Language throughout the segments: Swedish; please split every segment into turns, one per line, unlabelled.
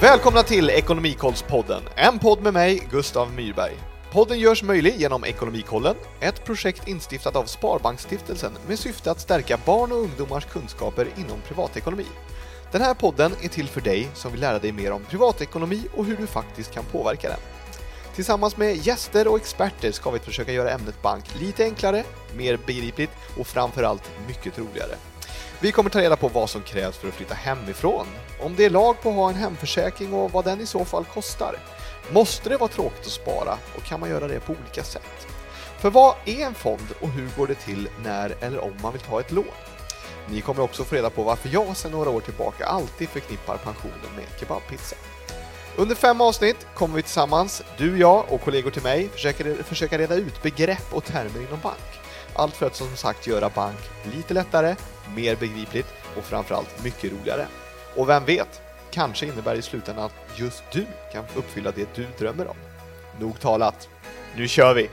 Välkomna till Ekonomikollspodden, en podd med mig, Gustav Myrberg. Podden görs möjlig genom Ekonomikollen, ett projekt instiftat av Sparbanksstiftelsen med syfte att stärka barn och ungdomars kunskaper inom privatekonomi. Den här podden är till för dig som vill lära dig mer om privatekonomi och hur du faktiskt kan påverka den. Tillsammans med gäster och experter ska vi försöka göra ämnet bank lite enklare, mer begripligt och framförallt mycket roligare. Vi kommer ta reda på vad som krävs för att flytta hemifrån, om det är lag på att ha en hemförsäkring och vad den i så fall kostar. Måste det vara tråkigt att spara och kan man göra det på olika sätt? För vad är en fond och hur går det till när eller om man vill ta ett lån? Ni kommer också få reda på varför jag sedan några år tillbaka alltid förknippar pensionen med kebabpizza. Under fem avsnitt kommer vi tillsammans, du, jag och kollegor till mig, försöka, försöka reda ut begrepp och termer inom bank. Allt för att som sagt göra bank lite lättare, mer begripligt och framförallt mycket roligare. Och vem vet, kanske innebär det i slutändan att just du kan uppfylla det du drömmer om. Nog talat, nu kör vi!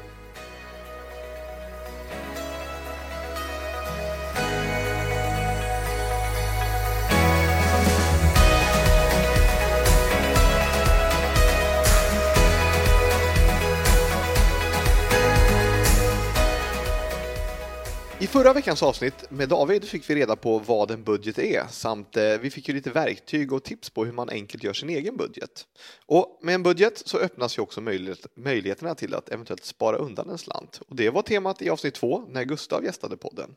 I förra veckans avsnitt med David fick vi reda på vad en budget är samt eh, vi fick ju lite verktyg och tips på hur man enkelt gör sin egen budget. Och med en budget så öppnas ju också möjlighet, möjligheterna till att eventuellt spara undan en slant. Och det var temat i avsnitt två när Gustav gästade podden.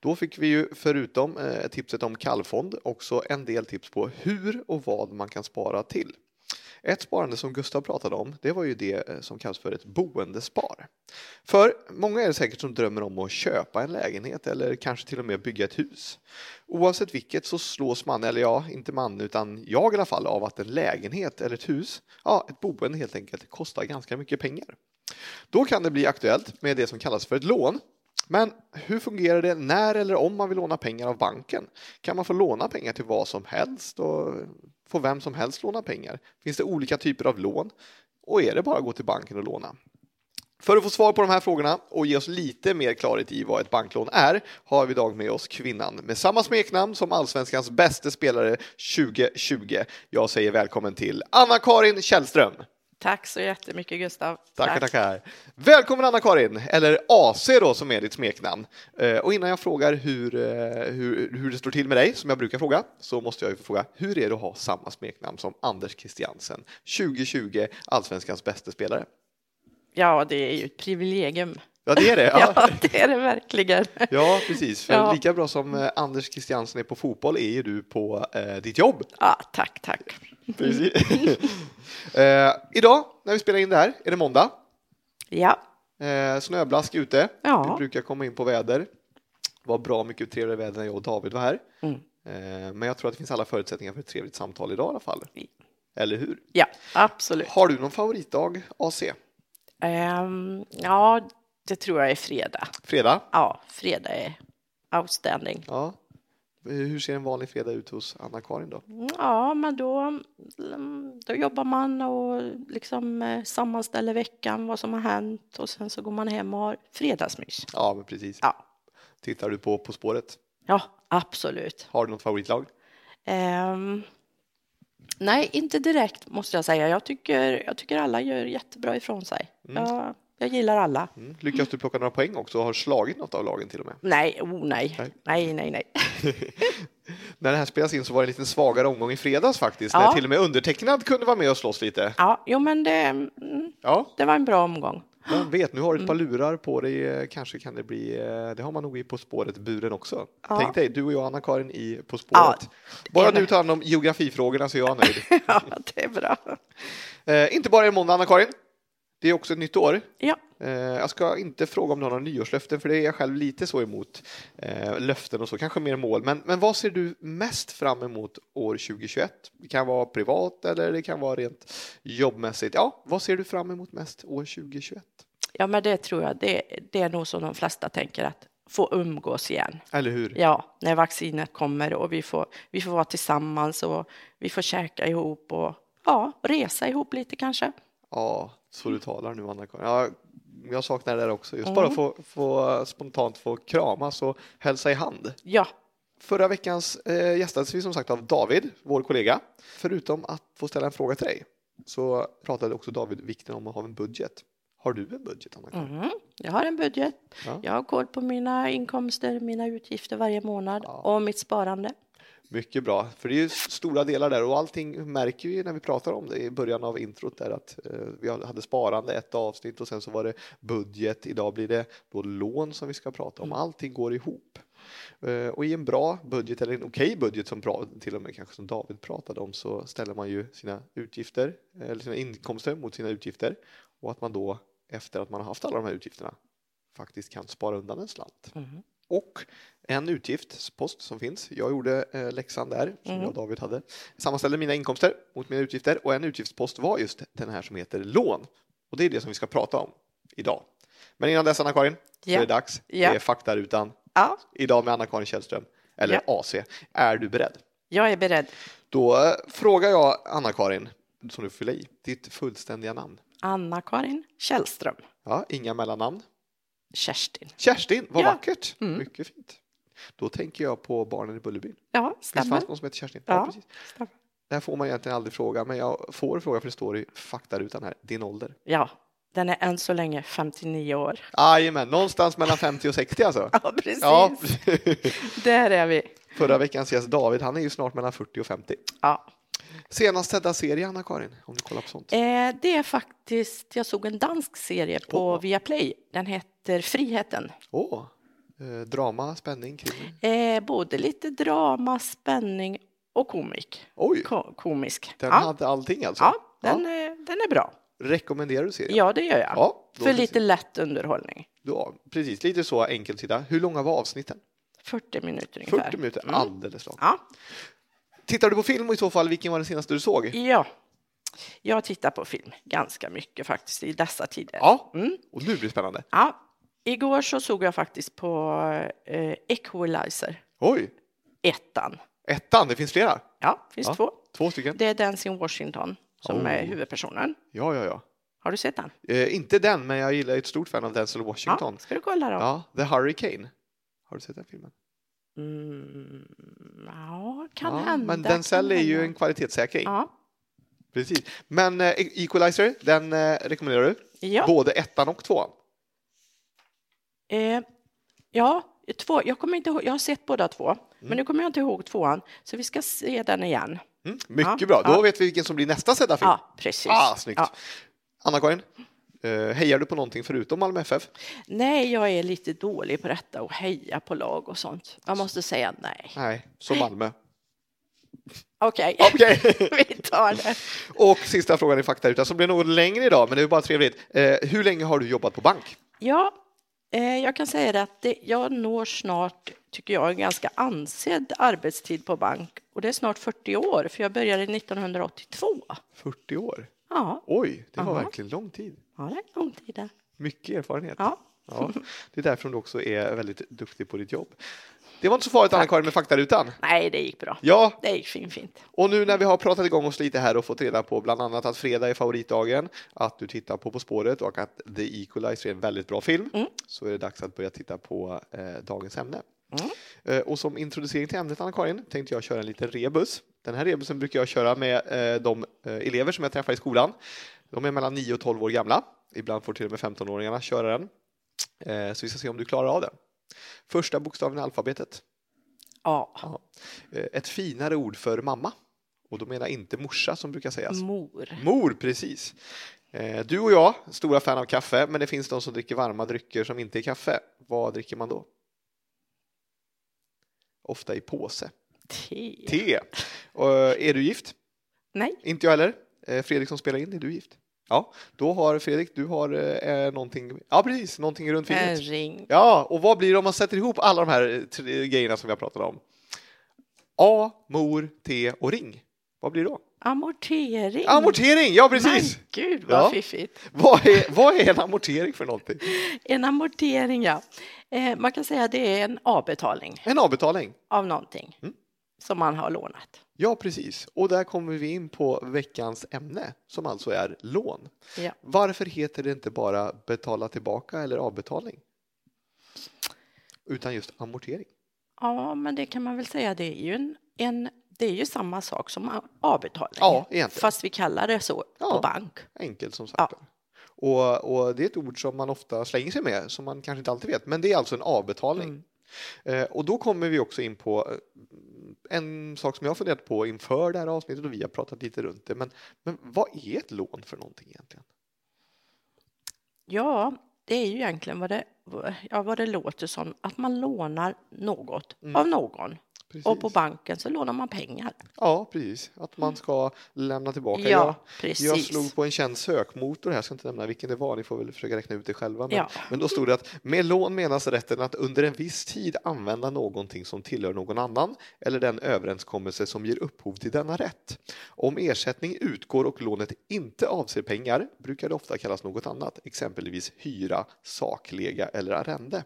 Då fick vi ju förutom eh, tipset om kallfond också en del tips på hur och vad man kan spara till. Ett sparande som Gustav pratade om, det var ju det eh, som kallas för ett boendespar. För många är det säkert som drömmer om att köpa en lägenhet eller kanske till och med bygga ett hus. Oavsett vilket så slås man, eller ja, inte man utan jag i alla fall, av att en lägenhet eller ett hus, ja, ett boende helt enkelt, kostar ganska mycket pengar. Då kan det bli aktuellt med det som kallas för ett lån. Men hur fungerar det när eller om man vill låna pengar av banken? Kan man få låna pengar till vad som helst och får vem som helst låna pengar? Finns det olika typer av lån? Och är det bara att gå till banken och låna? För att få svar på de här frågorna och ge oss lite mer klarhet i vad ett banklån är har vi idag med oss kvinnan med samma smeknamn som allsvenskans bästa spelare 2020. Jag säger välkommen till Anna-Karin Källström.
Tack så jättemycket Gustav.
Tackar, tackar. Välkommen Anna-Karin, eller AC då som är ditt smeknamn. Eh, Och innan jag frågar hur, eh, hur, hur det står till med dig, som jag brukar fråga, så måste jag ju få fråga, hur är det att ha samma smeknamn som Anders Christiansen, 2020 allsvenskans bästa spelare?
Ja, det är ju ett privilegium.
Ja, det är det.
Ja,
Ja,
det är det verkligen.
ja precis. För
Ja.
lika bra som eh, Anders Christiansen är på fotboll är ju du på eh, ditt jobb.
Ja, tack, tack.
Precis. eh, idag, när vi spelar in det här, är det måndag.
Ja,
Eh, snöblask ute.
Ja.
Vi brukar komma in på väder. Det var bra mycket trevligare väder när jag och David var här.
Mm.
Eh, men jag tror att det finns alla förutsättningar för ett trevligt samtal idag i alla fall.
Mm.
Eller hur?
ja absolut.
Har du någon favoritdag, AC?
Ehm, ja, det tror jag är fredag.
Fredag?
Ja, fredag är outstanding.
Ja. Eh, Hur ser en vanlig fredag ut hos Anna-Karin då?
Ja, men då, mm, då jobbar man och liksom eh, sammanställer veckan, vad som har hänt och sen så går man hem och har fredagsmys.
Ja, men precis.
Ja,
Tittar du på På spåret?
ja absolut.
Har du något favoritlag?
Ehm, nej, inte direkt måste jag säga. Jag tycker, jag tycker alla gör jättebra ifrån sig. Jag, jag gillar alla.
Mm. Lyckas du plocka några poäng också och har slagit något av lagen till och med?
Nej, oh nej.
Nej.
Nej, nej, nej.
När det här spelas in så var det en lite svagare omgång i fredags faktiskt,
Ja.
när till och med undertecknad kunde vara med och slåss lite.
Ja, jo, men det, mm,
Ja,
det var en bra omgång.
Vem vet, nu har du ett par
Mm.
lurar på dig. eh, Kanske kan det bli, eh, det har man nog i På spåret-buren också.
Ja.
Tänk dig, du och jag Anna-Karin i På
Ja,
spåret. Bara
det-
du tar hand om geografifrågorna så är jag nöjd.
ja, det är bra.
eh, inte bara en måndag Anna-Karin, det är också ett nytt år.
Ja,
Eh, jag ska inte fråga om du har några nyårslöften för det är jag själv lite så emot. Eh, löften och så, kanske mer mål. Men, men vad ser du mest fram emot år 2021? Det kan vara privat eller det kan vara rent jobbmässigt. Ja, vad ser du fram emot mest år 2021?
ja, men det tror jag. Det, det är nog som de flesta tänker att få umgås igen.
Eller hur?
Ja, när vaccinet kommer och vi får, vi får vara tillsammans och vi får käka ihop och ja, resa ihop lite kanske.
Ja, så du talar nu Anna-Karin. Ja, jag saknar det där också. Just bara få, få spontant få kramas och hälsa i hand.
Ja,
Förra veckans eh, gästades vi som sagt av David, vår kollega. Förutom att få ställa en fråga till dig så pratade också David vikten om att ha en budget. Har du en budget, Anna?
Mm. Jag har en budget.
Ja.
Jag har koll på mina inkomster, mina utgifter varje månad
Ja.
och mitt sparande.
Mycket bra, för det är ju stora delar där och allting märker vi när vi pratar om det i början av introt där att eh, vi hade sparande ett avsnitt och sen så var det budget. Idag blir det då lån som vi ska prata om. Allting går ihop. Eh, och i en bra budget eller en okej budget som pra- till och med kanske som David pratade om så ställer man ju sina utgifter eh, eller sina inkomster mot sina utgifter och att man då efter att man har haft alla de här utgifterna faktiskt kan spara undan en slant.
Mm.
Och en utgiftspost som finns. Jag gjorde eh, läxan där som
Mm.
jag och David hade. Sammanställde mina inkomster mot mina utgifter och en utgiftspost var just den här som heter lån. Och det är det som vi ska prata om idag. Men innan dess Anna-Karin, så
Ja.
är det dags.
Ja.
Det är faktarutan
Ja,
idag med Anna-Karin Källström, eller AC. Är du beredd?
jag är beredd.
Då eh, frågar jag Anna-Karin, som du får fylla i, ditt fullständiga namn.
Anna-Karin Källström.
Ja, inga mellannamn.
Kerstin.
Kerstin, vad
Ja.
vackert!
Mm.
Mycket fint. Då tänker jag på barnen i Bullerbyn.
Ja,
Visst
stämmer.
fanns det någon som hette Kerstin?
Ja,
precis.
stämmer.
Det här får man egentligen aldrig fråga, men jag får fråga för det står i faktarutan här, din ålder.
Ja, den är än så länge 59 år.
Jajamän, någonstans mellan 50 och 60 alltså.
Ja, precis.
Ja,
Där är vi.
förra veckans gäst David, han är ju snart mellan 40 och 50.
Ja.
Senast sedda serie, Anna-Karin, om du kollar på sånt.
Eh, det är faktiskt, jag såg en dansk serie på
Åh.
Viaplay. Den heter Friheten.
Åh, eh, drama, spänning, krim.
Eh, både lite drama, spänning och komik.
Oj,
Ko- komisk.
den
ja,
hade allting alltså.
ja, den, Är, den är bra.
Rekommenderar du serien?
Ja, det gör jag.
Ja, då
För
precis.
lite lätt underhållning.
Ja, precis, lite så enkelt sida. Hur långa var avsnitten?
40 minuter ungefär.
40 minuter,
Mm.
alldeles lagom.
Ja,
Tittar du på film och i så fall, vilken var den senaste du såg?
ja. Jag tittar på film ganska mycket faktiskt i dessa tider.
Ja,
Mm.
och nu blir det spännande.
ja. Igår så såg jag faktiskt på eh, Equalizer,
Oj,
ettan.
ettan, det finns flera.
Ja, finns
Ja.
två.
Två stycken?
Det är Dancing Washington som
Oh.
är huvudpersonen.
Ja, ja, ja.
Har du sett den?
Eh, inte den, men jag gillar ju ett stort fan av Denzel Washington.
Ja, ska du kolla då?
Ja. The Hurricane. Har du sett den filmen?
Mm, ja, kan
ja,
hända.
Men Denzel
kan
är ju
hända.
en kvalitetssäkring.
Ja,
Precis. Men eh, Equalizer, den eh, rekommenderar du?
ja.
Både ettan och tvåan?
Eh, ja två. Jag, kommer inte ihåg, jag har sett båda två, men nu kommer jag inte ihåg tvåan, så vi ska se den igen.
Mm, mycket
Ja,
bra. Då
ja.
vet vi vilken som blir nästa sedda film.
Ja, precis.
Ah, snyggt.
Ja.
Anna-Karin, eh, hejar du på någonting förutom Malmö FF?
Nej, jag är lite dålig på detta och heja på lag och sånt. Jag måste säga nej.
Nej, så Malmö.
Okej,
Okej.
vi tar det.
och sista frågan i faktarutan som blir något längre idag, men det är ju bara trevligt. Eh, hur länge har du jobbat på bank?
Ja, eh, jag kan säga det att det, jag når snart, tycker jag, en ganska ansedd arbetstid på bank. Och det är snart 40 år, för jag började 1982.
40 år.
Ja,
Oj, det var
Aha.
verkligen lång tid.
ja det är en lång tid. där.
Mycket erfarenhet.
Ja.
Ja, det är därför du också är väldigt duktig på ditt jobb. Det var inte så farligt Anna-Karin med faktarutan.
Nej, det gick bra.
Ja,
Det gick fin, fint.
och nu när vi har pratat igång oss lite här och fått reda på bland annat att fredag är favoritdagen, att du tittar på På spåret och att The Equalizer är en väldigt bra film,
Mm.
så är det dags att börja titta på eh, dagens ämne.
Mm.
Eh, och som introducering till ämnet Anna-Karin tänkte jag köra en liten rebus. Den här rebusen brukar jag köra med eh, de eh, elever som jag träffar i skolan. De är mellan 9 och 12 år gamla. Ibland får till och med 15-åringarna köra den. Eh, så vi ska se om du klarar av den. Första bokstaven i alfabetet.
Ja,
Eh, ett finare ord för mamma. Och då menar jag inte morsa som brukar sägas.
Mm. mor.
Mor, precis. Eh, Du och jag, stora fan av kaffe, men det finns de som dricker varma drycker som inte är kaffe. Vad dricker man då? Ofta i påse.
Te.
Te. Och, eh, är du gift?
Nej,
Inte jag heller. Eh, Fredrik som spelar in, är du gift? Ja, då har Fredrik, du har eh, någonting, ja precis, någonting runt
en
fingret.
ring.
Ja, och vad blir det om man sätter ihop alla de här eh, tre grejerna som jag pratade om? A, mor, T och ring. Vad blir det då?
Amortering.
Amortering, ja precis!
Men gud vad
Ja.
fiffigt.
Vad är, vad är en amortering för någonting?
En amortering, ja. Eh, man kan säga att det är en avbetalning
En avbetalning.
av någonting
Mm.
som man har lånat.
Ja, precis. Och där kommer vi in på veckans ämne som alltså är lån.
Ja.
Varför heter det inte bara betala tillbaka eller avbetalning? Utan just amortering.
Ja, men det kan man väl säga. Det är ju, en, en, det är ju samma sak som avbetalning.
Ja, egentligen.
Fast vi kallar det så
Ja.
på bank.
Enkelt som sagt.
Ja.
Och, och det är ett ord som man ofta slänger sig med, som man kanske inte alltid vet, men det är alltså en avbetalning.
Mm.
Eh, och då kommer vi också in på eh, en sak som jag har funderat på inför det här avsnittet och vi har pratat lite runt det. Men, men vad är ett lån för någonting egentligen?
Ja, det är ju egentligen vad det, ja, vad det låter som, att man lånar något
Mm.
av någon.
Precis.
Och på banken så lånar man pengar.
Ja, precis. Att man ska lämna tillbaka.
ja,
jag, jag
precis.
slog på en känd sökmotor här, jag ska inte nämna vilken det var, ni får väl försöka räkna ut det själva. Men,
Ja.
men då stod det att med lån menas rätten att under en viss tid använda någonting som tillhör någon annan eller den överenskommelse som ger upphov till denna rätt. Om ersättning utgår och lånet inte avser pengar brukar det ofta kallas något annat, exempelvis hyra, saklega eller arrende.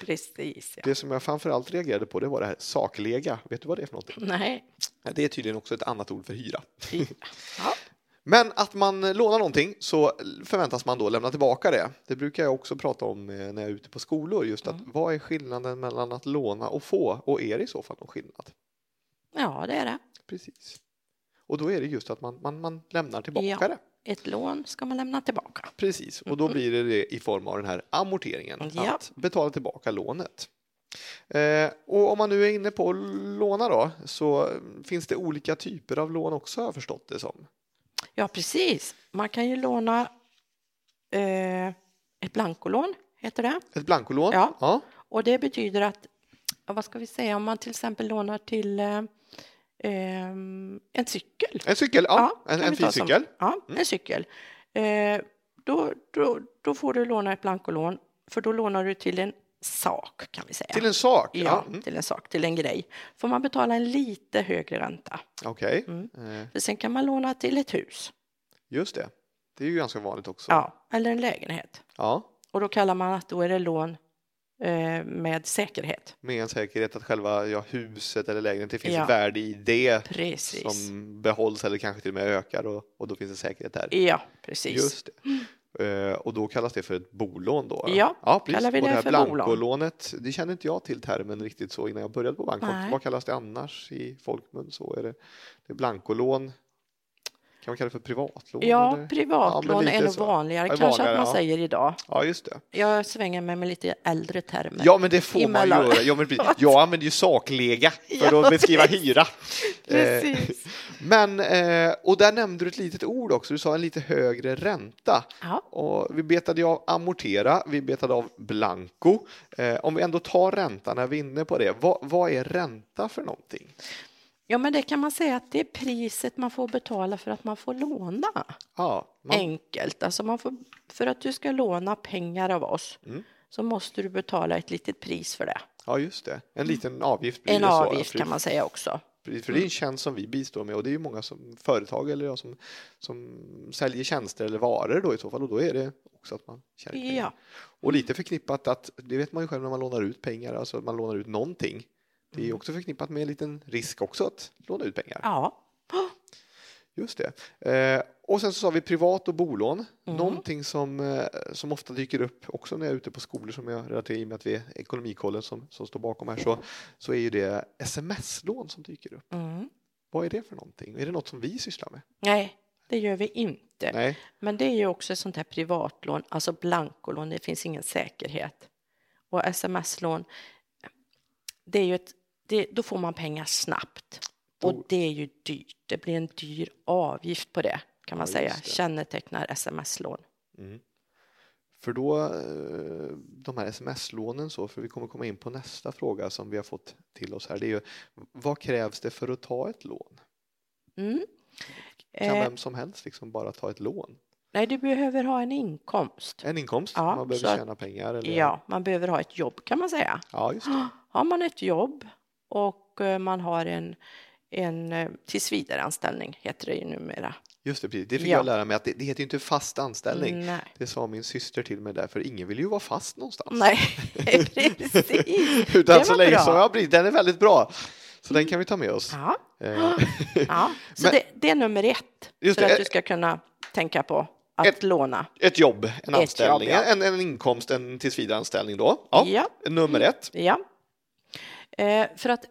Precis, ja.
Det som jag framförallt reagerade på det var det här saklega, vet du vad det är för någonting?
Nej.
Det är tydligen också ett annat ord för hyra.
Ja.
Men att man lånar någonting så förväntas man då lämna tillbaka det. Det brukar jag också prata om eh, när jag är ute på skolor. Just att
Mm.
vad är skillnaden mellan att låna och få och är det i så fall någon skillnad?
ja, det är det.
Precis. Och då är det just att man, man, man lämnar tillbaka
Ja.
det.
Ett lån ska man lämna tillbaka.
Precis, och då blir det det i form av den här amorteringen.
Ja.
Att betala tillbaka lånet. Eh, och om man nu är inne på att låna då så eh, finns det olika typer av lån också har jag förstått det som.
Ja, precis. Man kan ju låna eh, ett blankolån, heter det.
Ett blankolån?
Ja.
ja.
Och det betyder att, ja, vad ska vi säga, om man till exempel lånar till eh, ehm, en cykel.
En cykel, ja. en
kan
en
vi ta
fin
som-
cykel. Mm.
Ja, en cykel. Eh, då, då, då får du låna ett blankolån, för då lånar du till en sak kan vi säga.
Till en sak?
ja,
Mm.
till en sak, till en grej. Får man betala en lite högre ränta.
Okej,
Mm.
Eh,
För sen kan man låna till ett hus,
just det. Det är ju ganska vanligt också.
ja, eller en lägenhet.
Ja,
Och då kallar man att då är det lån eh, med säkerhet.
Med en säkerhet att själva ja, huset eller lägenheten, det finns
Ja.
ett värde i det
Precis.
som behålls eller kanske till och med ökar och, och då finns en säkerhet där.
Ja, precis.
Just det. Eh, och då kallas det för ett bolån då?
Ja,
ja precis.
kallar vi
och
det
det här
för bolån.
blankolånet, det kände inte jag till termen riktigt så innan jag började på bankfolk.
Nej.
Vad kallas det annars i folkmun? Så är det, det är blankolån, kan man kalla det för privatlån?
Ja,
eller? Ja, men
privatlån
lite
är nog
så.
vanligare
Ja,
kanske
vanligare,
att man
ja.
säger idag.
ja, just det.
Jag svänger mig med lite äldre termer.
Ja, men det får man
emellan.
göra. Ja, men precis. Jag använder ju saklega för
Ja,
att beskriva hyra. Eh,
Precis.
men, eh, och där nämnde du ett litet ord också. Du sa en lite högre ränta.
Ja.
Och vi betade ju av amortera, vi betade av blanco. Eh, om vi ändå tar räntan när vi är inne på det, vad, vad är ränta för någonting?
ja, men det kan man säga att det är priset man får betala för att man får låna.
Ja, man,
Enkelt, alltså man får, för att du ska låna pengar av oss
Mm.
så måste du betala ett litet pris för det.
ja just det. En liten avgift blir
En
det så.
avgift
För-
kan man Mm. säga också.
Precis, för det är en tjänst som vi bistår med och det är ju många som, företag eller ja, som, som säljer tjänster eller varor då i så fall och då är det också att man tjänar pengar.
Ja,
Och lite förknippat att, det vet man ju själv när man lånar ut pengar, alltså att man lånar ut någonting. Det är
Mm.
ju också förknippat med en liten risk också att låna ut pengar.
ja.
Just det. Eh, och sen så sa vi privat och bolån.
Mm.
Någonting som, eh, som ofta dyker upp också när jag är ute på skolor som jag relaterar i och med att vi är Ekonomikollen som, som står bakom här så, så är ju det sms-lån som dyker upp.
Mm.
Vad är det för någonting? Är det något som vi sysslar med?
Nej, det gör vi inte.
Nej,
Men det är ju också ett sånt här privatlån, alltså blankolån, det finns ingen säkerhet. Och sms-lån, det är ju ett, det, då får man pengar snabbt.
Oh.
Och det är ju dyrt, det blir en dyr avgift på det kan man
Ja,
säga,
just det.
kännetecknar sms-lån.
för då eh, de här sms-lånen så, för vi kommer komma in på nästa fråga som vi har fått till oss här. Det är ju vad krävs det för att ta ett lån?
Mm.
Kan
Eh,
vem som helst liksom bara ta ett lån?
nej, du behöver ha en inkomst.
En inkomst?
Ja,
man
så
behöver
att-
tjäna pengar? Eller?
Ja, man behöver ha ett jobb kan man säga.
ja, just det.
Har man ett jobb och eh, man har en, en eh, tillsvidareanställning heter det ju numera.
Just det, precis. det fick
Ja.
jag lära mig att det, det heter ju inte fast anställning.
Mm, Nej.
Det sa min syster till mig därför ingen vill ju vara fast någonstans.
Nej, precis.
Utan
Det
så
var
länge
bra.
som jag blir, den är väldigt bra. Så den kan vi ta med oss.
Ja,
Eh,
ja. Så
Men-
det, det är nummer ett
Just
för
det. eh,
att du ska kunna tänka på att
Ett-
låna.
Ett jobb, en
jobb,
anställning,
ja. Mm.
En, en inkomst, en tillsvidareanställning då. Ja.
Ja.
Nummer ett.
Ja. Eh, för att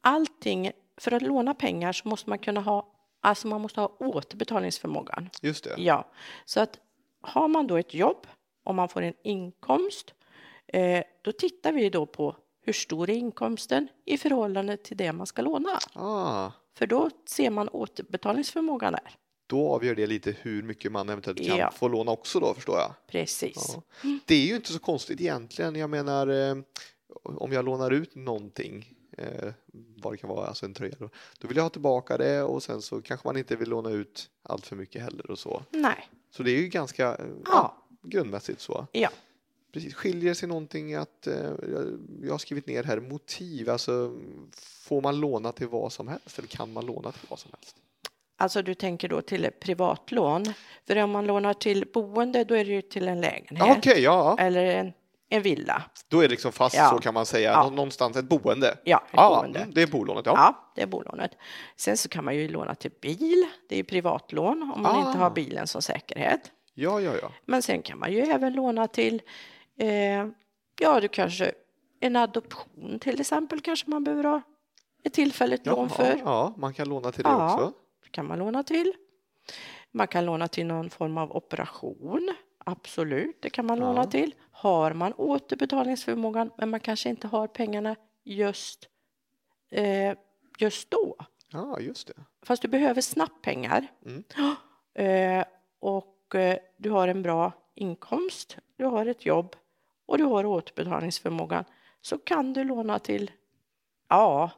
allting, för att låna pengar så måste man kunna ha, alltså man måste ha återbetalningsförmågan.
Just det.
Ja, så att har man då ett jobb och man får en inkomst, eh, då tittar vi då på hur stor är inkomsten i förhållande till det man ska låna?
Ah,
För då ser man återbetalningsförmågan där.
då avgör det lite hur mycket man eventuellt kan
Ja.
få låna också då förstår jag.
Precis.
Ja. Det är ju inte så konstigt egentligen. Jag menar eh, om jag lånar ut någonting, eh, vad det kan vara, alltså en tröja, då, då vill jag ha tillbaka det och sen så kanske man inte vill låna ut allt för mycket heller och så.
Nej.
Så det är ju ganska eh,
Ja.
grundmässigt så.
Ja.
Precis. Skiljer sig någonting att, eh, jag- jag har skrivit ner här, motiv, alltså får man låna till vad som helst eller kan man låna till vad som helst?
Alltså du tänker då till ett privatlån. För om man lånar till boende då är det ju till en
Ja,
lägenhet
Okej, ja. ja.
eller en, en villa.
Då är det liksom fast
Ja.
så kan man säga,
Ja.
Nå- någonstans ett boende.
Ja, ett
Ja,
boende.
mm, det är bolånet,
Ja.
ja.
det är bolånet. Sen så kan man ju låna till bil. Det är ju privatlån om man
Ah.
inte har bilen som säkerhet.
Ja, ja, ja.
Men sen kan man ju även låna till, eh, ja, du kanske en adoption till exempel kanske man behöver ha ett tillfälligt lån
Jaha,
för.
Ja, man kan låna till det
Ja.
också.
kan man låna till. Man kan låna till någon form av operation. Absolut, det kan man
Ja.
låna till. Har man återbetalningsförmågan men man kanske inte har pengarna just, eh, just då.
Ja, just det.
Fast du behöver snabbt pengar.
Mm.
Eh, och eh, du har en bra inkomst, du har ett jobb och du har återbetalningsförmågan. Så kan du låna till, ja,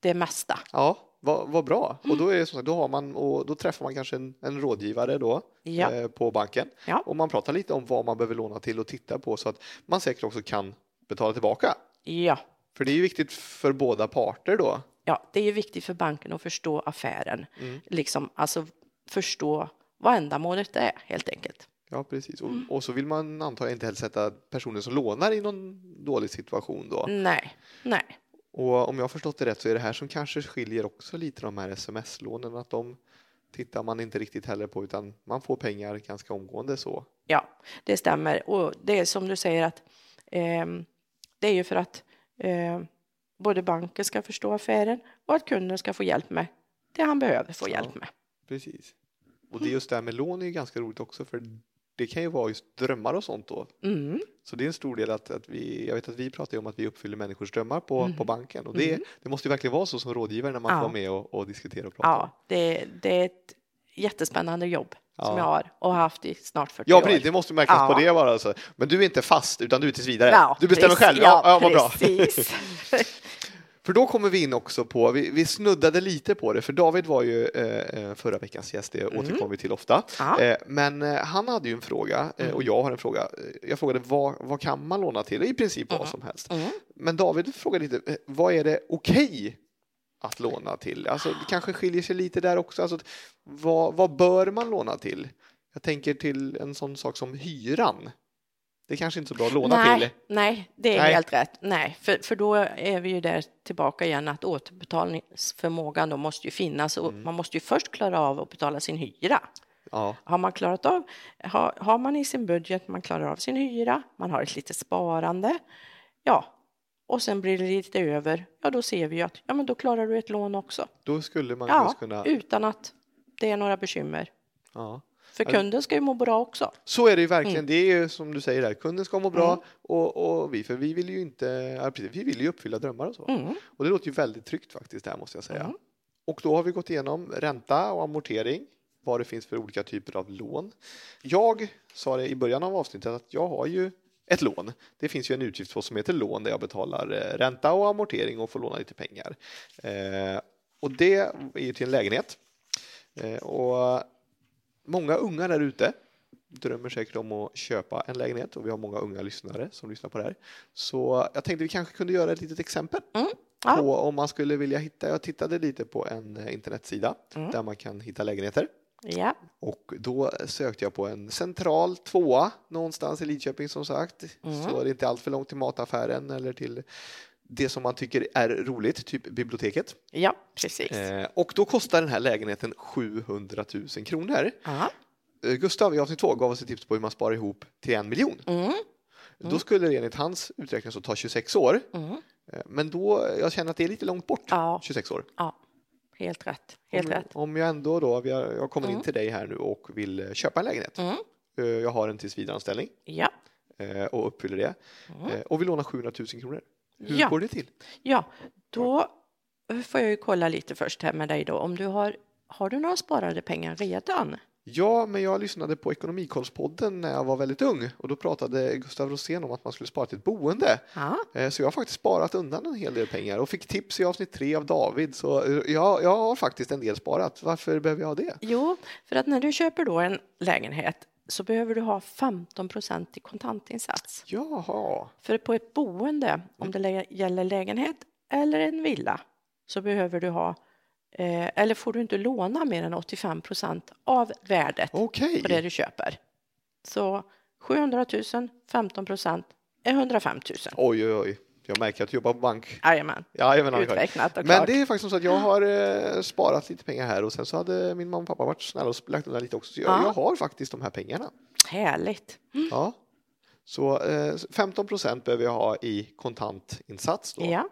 det mesta.
Ja, vad, vad bra. Och då är det som sagt, då har man och då träffar man kanske en, en rådgivare då
Ja,
eh, på banken
Ja.
och man pratar lite om vad man behöver låna till och titta på så att man säkert också kan betala tillbaka.
ja.
För det är ju viktigt för båda parter då.
ja, det är ju viktigt för banken att förstå affären,
Mm.
liksom alltså förstå vad ändamålet är helt enkelt.
Ja, precis. Och,
Mm.
och så vill man antagligen inte heller sätta personen som lånar i någon dålig situation då.
Nej, nej,
Och om jag har förstått det rätt så är det här som kanske skiljer också lite de här sms-lånen att de tittar man inte riktigt heller på utan man får pengar ganska omgående så.
ja, det stämmer. Och det är som du säger att ehm, det är ju för att eh, både banken ska förstå affären och att kunden ska få hjälp med det han behöver få
Ja.
hjälp med.
Precis. Och det är just det här med lån är ju ganska roligt också för det kan ju vara just drömmar och sånt då.
Mm,
Så det är en stor del att, att vi, jag vet att vi pratar ju om att vi uppfyller människors drömmar på, på banken och det, det måste ju verkligen vara så som rådgivare när man
Mm-hmm. Ja.
får vara med och, och diskutera och prata.
ja, det, det är ett jättespännande jobb som
Ja.
jag har och har haft i snart 40
Ja,
år.
precis, det måste märkas
Ja.
på det bara. Alltså. Men du är inte fast, utan du är tills vidare.
Ja,
du bestämmer
precis.
själv. Ja, ja, vad bra.
precis.
För då kommer vi in också på, vi, vi snuddade lite på det, för David var ju eh, eh, förra veckans gäst, det återkommer vi till ofta.
Mm. Ja. Mm.
Eh, men eh, han hade ju en fråga, eh, och jag har en fråga. Eh, Jag frågade vad, vad kan man låna till? I princip vad som helst.
Mm.
Men David frågade lite, eh, vad är det okej att låna till? Alltså, det kanske skiljer sig lite där också. Alltså, att vad, vad bör man låna till? Jag tänker till en sån sak som hyran. Det är kanske inte så bra att låna
nej,
till.
Nej, det är
Nej.
helt rätt. Nej, för, för då är vi ju där tillbaka igen att återbetalningsförmågan då måste ju finnas och
Mm.
man måste ju först klara av att betala sin hyra.
Ja,
Har man klarat av, har, har man i sin budget, man klarar av sin hyra, man har ett litet sparande, ja, och sen blir det lite över, ja då ser vi ju att ja men då klarar du ett lån också.
då skulle man
Ja,
just kunna...
utan att det är några bekymmer.
Ja.
För
Ja, det-
kunden ska ju må bra också.
Så är det ju verkligen. Det är ju som du säger där, kunden ska må bra och, och vi, för vi vill ju inte, ja, precis, vi vill ju uppfylla drömmar och så.
Mm.
Och det låter ju väldigt tryggt faktiskt där måste jag säga.
Mm.
Och då har vi gått igenom ränta och amortering, vad det finns för olika typer av lån. Jag sa det i början av avsnittet att jag har ju ett lån. Det finns ju en utgiftspost som heter lån där jag betalar eh, ränta och amortering och får låna lite pengar. Eh, och det är ju till en lägenhet. Eh, och många unga där ute drömmer säkert om att köpa en lägenhet och vi har många unga lyssnare som lyssnar på det här. Så jag tänkte vi kanske kunde göra ett litet exempel
Ja.
på om man skulle vilja hitta. Jag tittade lite på en eh, internetsida
Mm.
där man kan hitta lägenheter
Ja.
och då sökte jag på en central tvåa någonstans i Lidköping som sagt.
Mm.
Så det är inte allt för långt till mataffären eller till det som man tycker är roligt, typ biblioteket.
ja, precis.
Eh, och då kostar den här lägenheten 700 000 kronor.
Ja.
Eh, Gustav i avsnitt två gav oss ett tips på hur man sparar ihop till en miljon.
Mm.
Då skulle det enligt hans uträkning så ta 26 år.
Mm.
Eh, Men då, jag känner att det är lite långt bort,
Ja,
26 år.
helt rätt. Helt
om,
rätt.
om jag ändå då, vi har- jag kommer in
Mm.
till dig här nu och vill eh, köpa en lägenhet.
Mm.
Eh, Jag har en tillsvidareanställning
Ja.
eh, och uppfyller det.
Mm.
Eh, Och vill låna 700 000 kronor. Hur
Ja.
går det till?
Ja, då får jag ju kolla lite först här med dig då. Om du har, har du några sparade pengar redan?
Ja, men jag lyssnade på Ekonomikollspodden när jag var väldigt ung och då pratade Gustav Rosén om att man skulle spara till ett boende.
Ja,
Eh, Så jag har faktiskt sparat undan en hel del pengar och fick tips i avsnitt tre av David. Så eh, jag, jag har faktiskt en del sparat. Varför behöver jag ha det?
jo, för att när du köper då en lägenhet så behöver du ha 15 procent i kontantinsats.
Jaha,
För på ett boende, om det lä- gäller lägenhet eller en villa, så behöver du ha eh, eller får du inte låna mer än 85 procent av värdet
okej.
på det du köper. Så 700 000, 15 procent är 105 000.
Oj, oj, oj. Jag märker att du jobbar på bank.
Jajamän,
Ja, jag menar,
uträknat och
Men
klart.
det är faktiskt som så att jag har eh, sparat lite pengar här och sen så hade min mamma och pappa varit snälla och lagt undan lite också. Så jag,
Ja.
jag har faktiskt de här pengarna.
Härligt.
Ja. Så eh, 15 procent behöver jag ha i kontantinsats. Då.
Ja,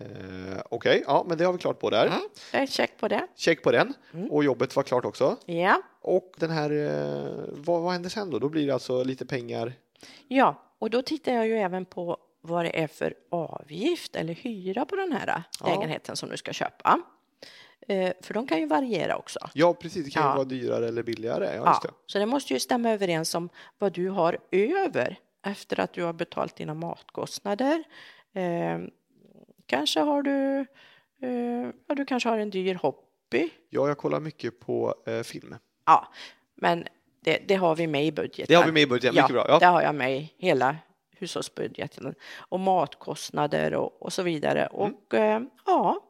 Eh, Okej, ja, men det har vi klart på där.
Mm. jag är check på det.
Check på den.
Mm.
Och jobbet var klart också.
Ja,
Och den här, eh, vad, vad händer sen då? Då blir det alltså lite pengar.
ja, och då tittar jag ju även på vad det är för avgift eller hyra på den här äh,
Ja.
lägenheten som du ska köpa. Eh, För de kan ju variera också.
Ja, precis. Det kan ju
Ja.
vara dyrare eller billigare. Ja,
Ja,
just det.
så det måste ju stämma överens om vad du har över efter att du har betalt dina matkostnader. Eh, kanske har du, eh, ja, du kanske har en dyr hobby.
ja, jag kollar mycket på eh, film.
Ja, men det, det har vi med i budgeten.
Det har vi med i budgeten.
Ja,
Mycket bra.
det
Ja.
har jag med i hela hushållsbudgeten och matkostnader och, och så vidare.
Mm.
Och eh, ja,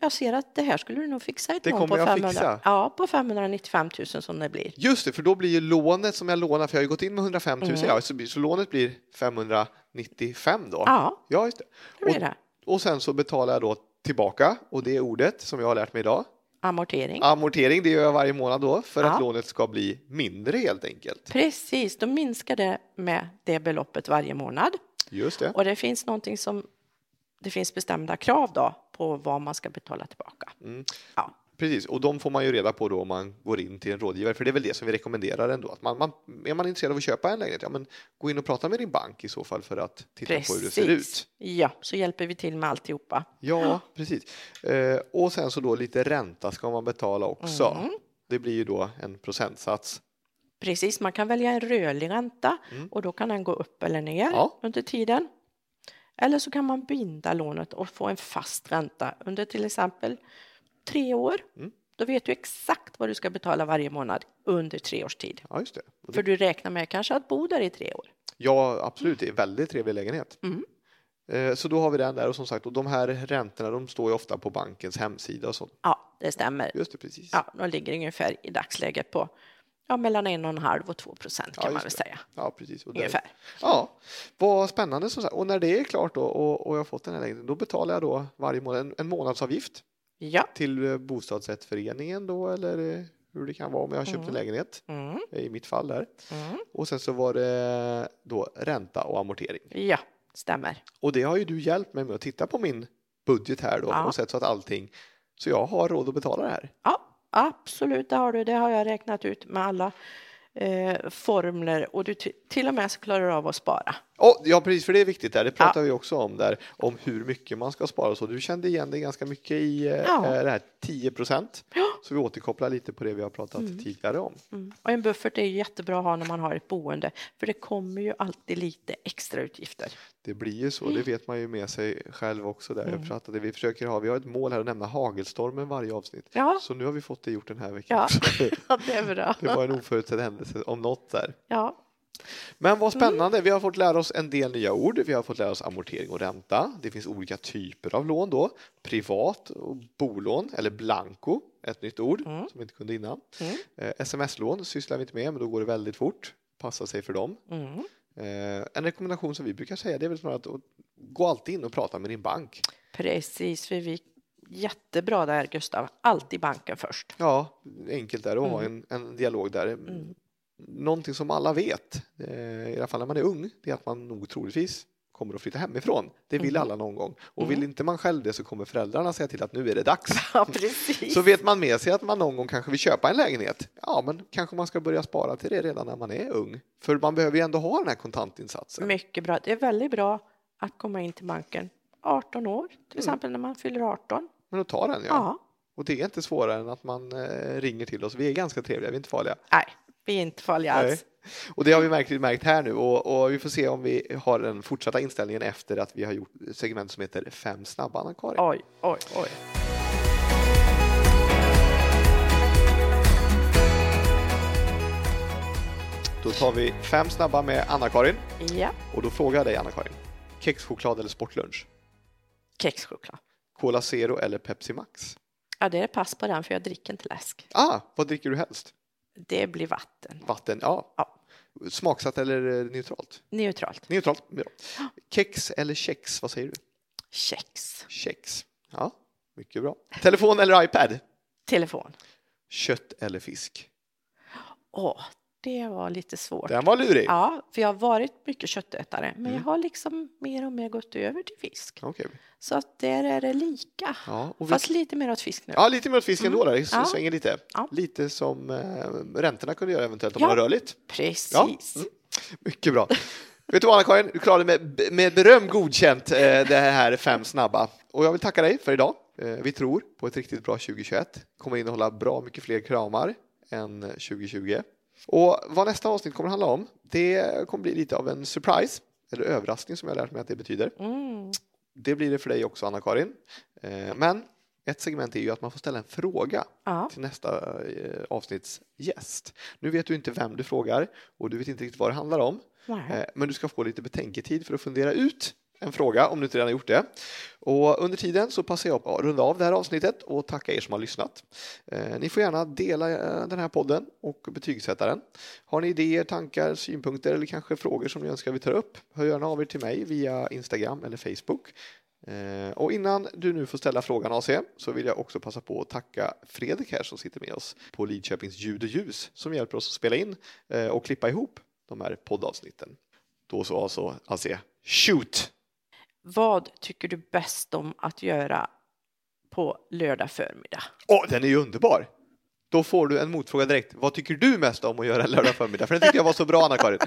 jag ser att det här skulle du nog fixa ett
Det
lån
kommer
på
jag
500,
fixa.
Ja, på 595 000 som det blir.
Just det, för då blir ju lånet som jag lånar, för jag har ju gått in med 105 000,
Mm.
ja, så, blir- så lånet blir 595 då.
Ja,
Ja, just det.
det blir det.
Och sen så betalar jag då tillbaka, och det är ordet som jag har lärt mig idag.
Amortering.
Amortering, det gör jag varje månad då, för
Ja.
att lånet ska bli mindre helt enkelt.
Precis, då minskar det med det beloppet varje månad.
Just det.
Och det finns någonting som det finns bestämda krav då på vad man ska betala tillbaka.
Mm. Precis, och de får man ju reda på då om man går in till en rådgivare, för det är väl det som vi rekommenderar ändå. Att man, man, är man intresserad av att köpa en lägenhet, ja men gå in och prata med din bank i så fall för att titta på hur det ser ut.
Ja, så hjälper vi till med alltihopa.
Ja, precis. Eh, och sen så då lite ränta ska man betala också.
Mm.
Det blir ju då en procentsats.
Precis, man kan välja en rörlig ränta
Mm.
och då kan den gå upp eller ner
Ja.
under tiden. Eller så kan man binda lånet och få en fast ränta under till exempel tre år.
Mm.
Då vet du exakt vad du ska betala varje månad under tre års tid.
Ja, just det. Och
För
det
du räknar med kanske att bo där i tre år.
ja, absolut. Det är en väldigt trevlig lägenhet.
Mm.
Eh, så då har vi den där och som sagt, och de här räntorna de står ju ofta på bankens hemsida och sånt.
Ja, det stämmer.
Just det, precis.
Ja, de ligger ungefär i dagsläget på ja, mellan en och en halv och två procent
Ja,
kan man
just
väl
det.
säga.
Ja, precis. Och där-
Ungefär.
Ja, vad spännande som sagt. Och när det är klart då och, och jag har fått den här lägenheten, då betalar jag då varje månad en, en månadsavgift
Ja.
till eh, bostadsrättsföreningen då eller eh, hur det kan vara om jag har köpt en
Mm.
lägenhet
Mm,
eh, i mitt fall där.
mm.
Och sen så var det då ränta och amortering.
Ja, stämmer.
Och det har ju du hjälpt mig med att titta på min budget här då
Ja.
och sett så att allting, så jag har råd att betala det här.
Ja, absolut, det har du. Det har jag räknat ut med alla eh, formler och du ty- till och med så klarar du av att spara.
Oh, ja precis, för det är viktigt där, det pratar vi också om där, om hur mycket man ska spara och så. Du kände igen det ganska mycket i eh,
Ja.
eh, det här 10 procent.
Ja.
Så vi återkopplar lite på det vi har pratat tidigare om.
Mm. Och en buffert är ju jättebra att ha när man har ett boende för det kommer ju alltid lite extra utgifter.
Det blir ju så,
Mm.
det vet man ju med sig själv också där. Jag pratade, vi försöker ha, vi har ett mål här att nämna hagelstormen varje avsnitt.
Ja,
Så nu har vi fått det gjort den här veckan.
Ja. det är bra.
det var en oförutsedd händelse om något där.
Ja,
Men vad spännande, vi har fått lära oss en del nya ord. Vi har fått lära oss amortering och ränta. Det finns olika typer av lån då. Privat och bolån eller blanco, ett nytt ord
Mm.
som vi inte kunde innan.
Mm.
Eh, Sms-lån sysslar vi inte med, men då går det väldigt fort. Passa sig för dem.
mm.
Eh, en rekommendation som vi brukar säga det är väl snarare att att gå alltid in och prata med din bank.
precis. För vi jättebra där Gustav. Alltid banken först.
Ja, enkelt där och ha
Mm.
en, en dialog där. Någonting som alla vet, eh, i alla fall när man är ung, det är att man nog troligtvis kommer att flytta hemifrån. Det vill
Mhm.
alla någon gång. Och
Mm.
vill inte man själv det så kommer föräldrarna säga till att nu är det dags.
Ja, precis.
Så vet man med sig att man någon gång kanske vill köpa en lägenhet. Ja, men kanske man ska börja spara till det redan när man är ung. För man behöver ju ändå ha den här kontantinsatsen.
Mycket bra. Det är väldigt bra att komma in till banken 18 år, till exempel när man fyller 18.
Men att ta den Mm.
Ja.
ja. Och det är inte svårare än att man eh, ringer till oss. Vi är ganska trevliga, vi är inte farliga.
Nej, vi är inte farliga
Nej.
alls.
Och det har vi märkt, märkt här nu och, och vi får se om vi har den fortsatta inställningen efter att vi har gjort ett segment som heter Fem snabba, Anna-Karin.
Oj, oj, oj.
Då tar vi Fem snabba med Anna-Karin
Ja,
och då frågar jag dig Anna-Karin. Kexchoklad eller sportlunch?
kexchoklad.
Cola Zero eller Pepsi Max?
Ja, det är pass på den för jag dricker inte läsk.
Ah, vad dricker du helst?
Det blir vatten.
Vatten, ja.
Ja.
Smaksatt eller eh, neutralt?
Neutralt.
Neutralt, ja. Kex eller kex, vad säger du?
Kex.
Kex. Ja, mycket bra. Telefon eller iPad?
Telefon.
Kött eller fisk?
Åh, det var lite svårt.
Den var lurig.
Ja, för jag har varit mycket köttätare, men
Mm.
jag har liksom mer och mer gått över till fisk.
Okej.
Så att där är det lika.
Ja, och vi...
Fast lite mer åt fisk nu.
ja, lite mer åt fisken
Mm.
då, där. det
Ja.
svänger lite.
Ja.
Lite som eh, räntorna kunde göra eventuellt om
Ja.
man har rörligt.
Precis.
Mm. Mycket bra. Vet du vad Anna-Karin, du klarade med, med beröm godkänt eh, det här fem snabba. Och jag vill tacka dig för idag. Eh, vi tror på ett riktigt bra 2021. Kommer innehålla bra mycket fler kramar än 2020. Och vad nästa avsnitt kommer handla om, det kommer bli lite av en surprise, eller överraskning som jag har lärt mig att det betyder.
Mm.
Det blir det för dig också Anna-Karin. Eh, men ett segment är ju att man får ställa en fråga
Ja.
till nästa eh, avsnitts gäst. Nu vet du inte vem du frågar och du vet inte riktigt vad det handlar om.
Nej.
Eh, Men du ska få lite betänketid för att fundera ut en fråga om du inte redan har gjort det. Och under tiden så passar jag på att runda av det här avsnittet och tacka er som har lyssnat. Eh, Ni får gärna dela eh, den här podden och betygsätta den. Har ni idéer, tankar, synpunkter eller kanske frågor som ni önskar vi tar upp, hör gärna av er till mig via Instagram eller Facebook. Eh, Och innan du nu får ställa frågan AC så vill jag också passa på att tacka Fredrik här som sitter med oss på Lidköpings ljud och ljus som hjälper oss att spela in eh, och klippa ihop de här poddavsnitten. Då så alltså, alltså shoot!
Vad tycker du bäst om att göra på lördag förmiddag?
Åh, den är ju underbar! Då får du en motfråga direkt. Vad tycker du mest om att göra lördag förmiddag? För den tyckte jag var så bra Anna-Karin.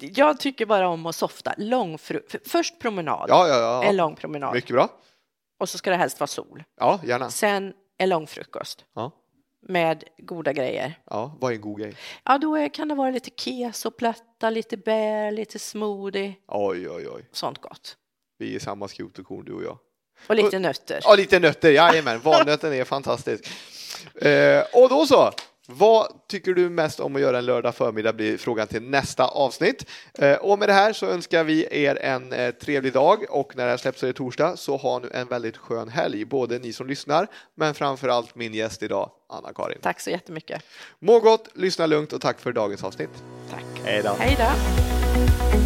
Jag tycker bara om att softa. Lång fru- f- först promenad,
Ja, ja,
en
ja.
lång promenad.
Mycket bra.
Och så ska det helst vara sol.
Ja, gärna.
Sen en lång frukost
Ja,
med goda grejer.
ja. Vad är en god grej?
Ja, då är, kan det vara lite kesoplätta, lite bär, lite smoothie,
Oj, oj, oj.
sånt gott.
Vi är samma skrot och korn du och jag.
Och lite nötter.
Ja, lite nötter. Jajamän, valnöten är fantastisk. Eh, och då så. Vad tycker du mest om att göra en lördag förmiddag blir frågan till nästa avsnitt. Eh, och med det här så önskar vi er en eh, trevlig dag och när det här släpps så är det torsdag så ha nu en väldigt skön helg, både ni som lyssnar men framför allt min gäst idag, Anna-Karin.
Tack så jättemycket.
Må gott, lyssna lugnt och tack för dagens avsnitt.
Tack.
Hej då.
Hej då.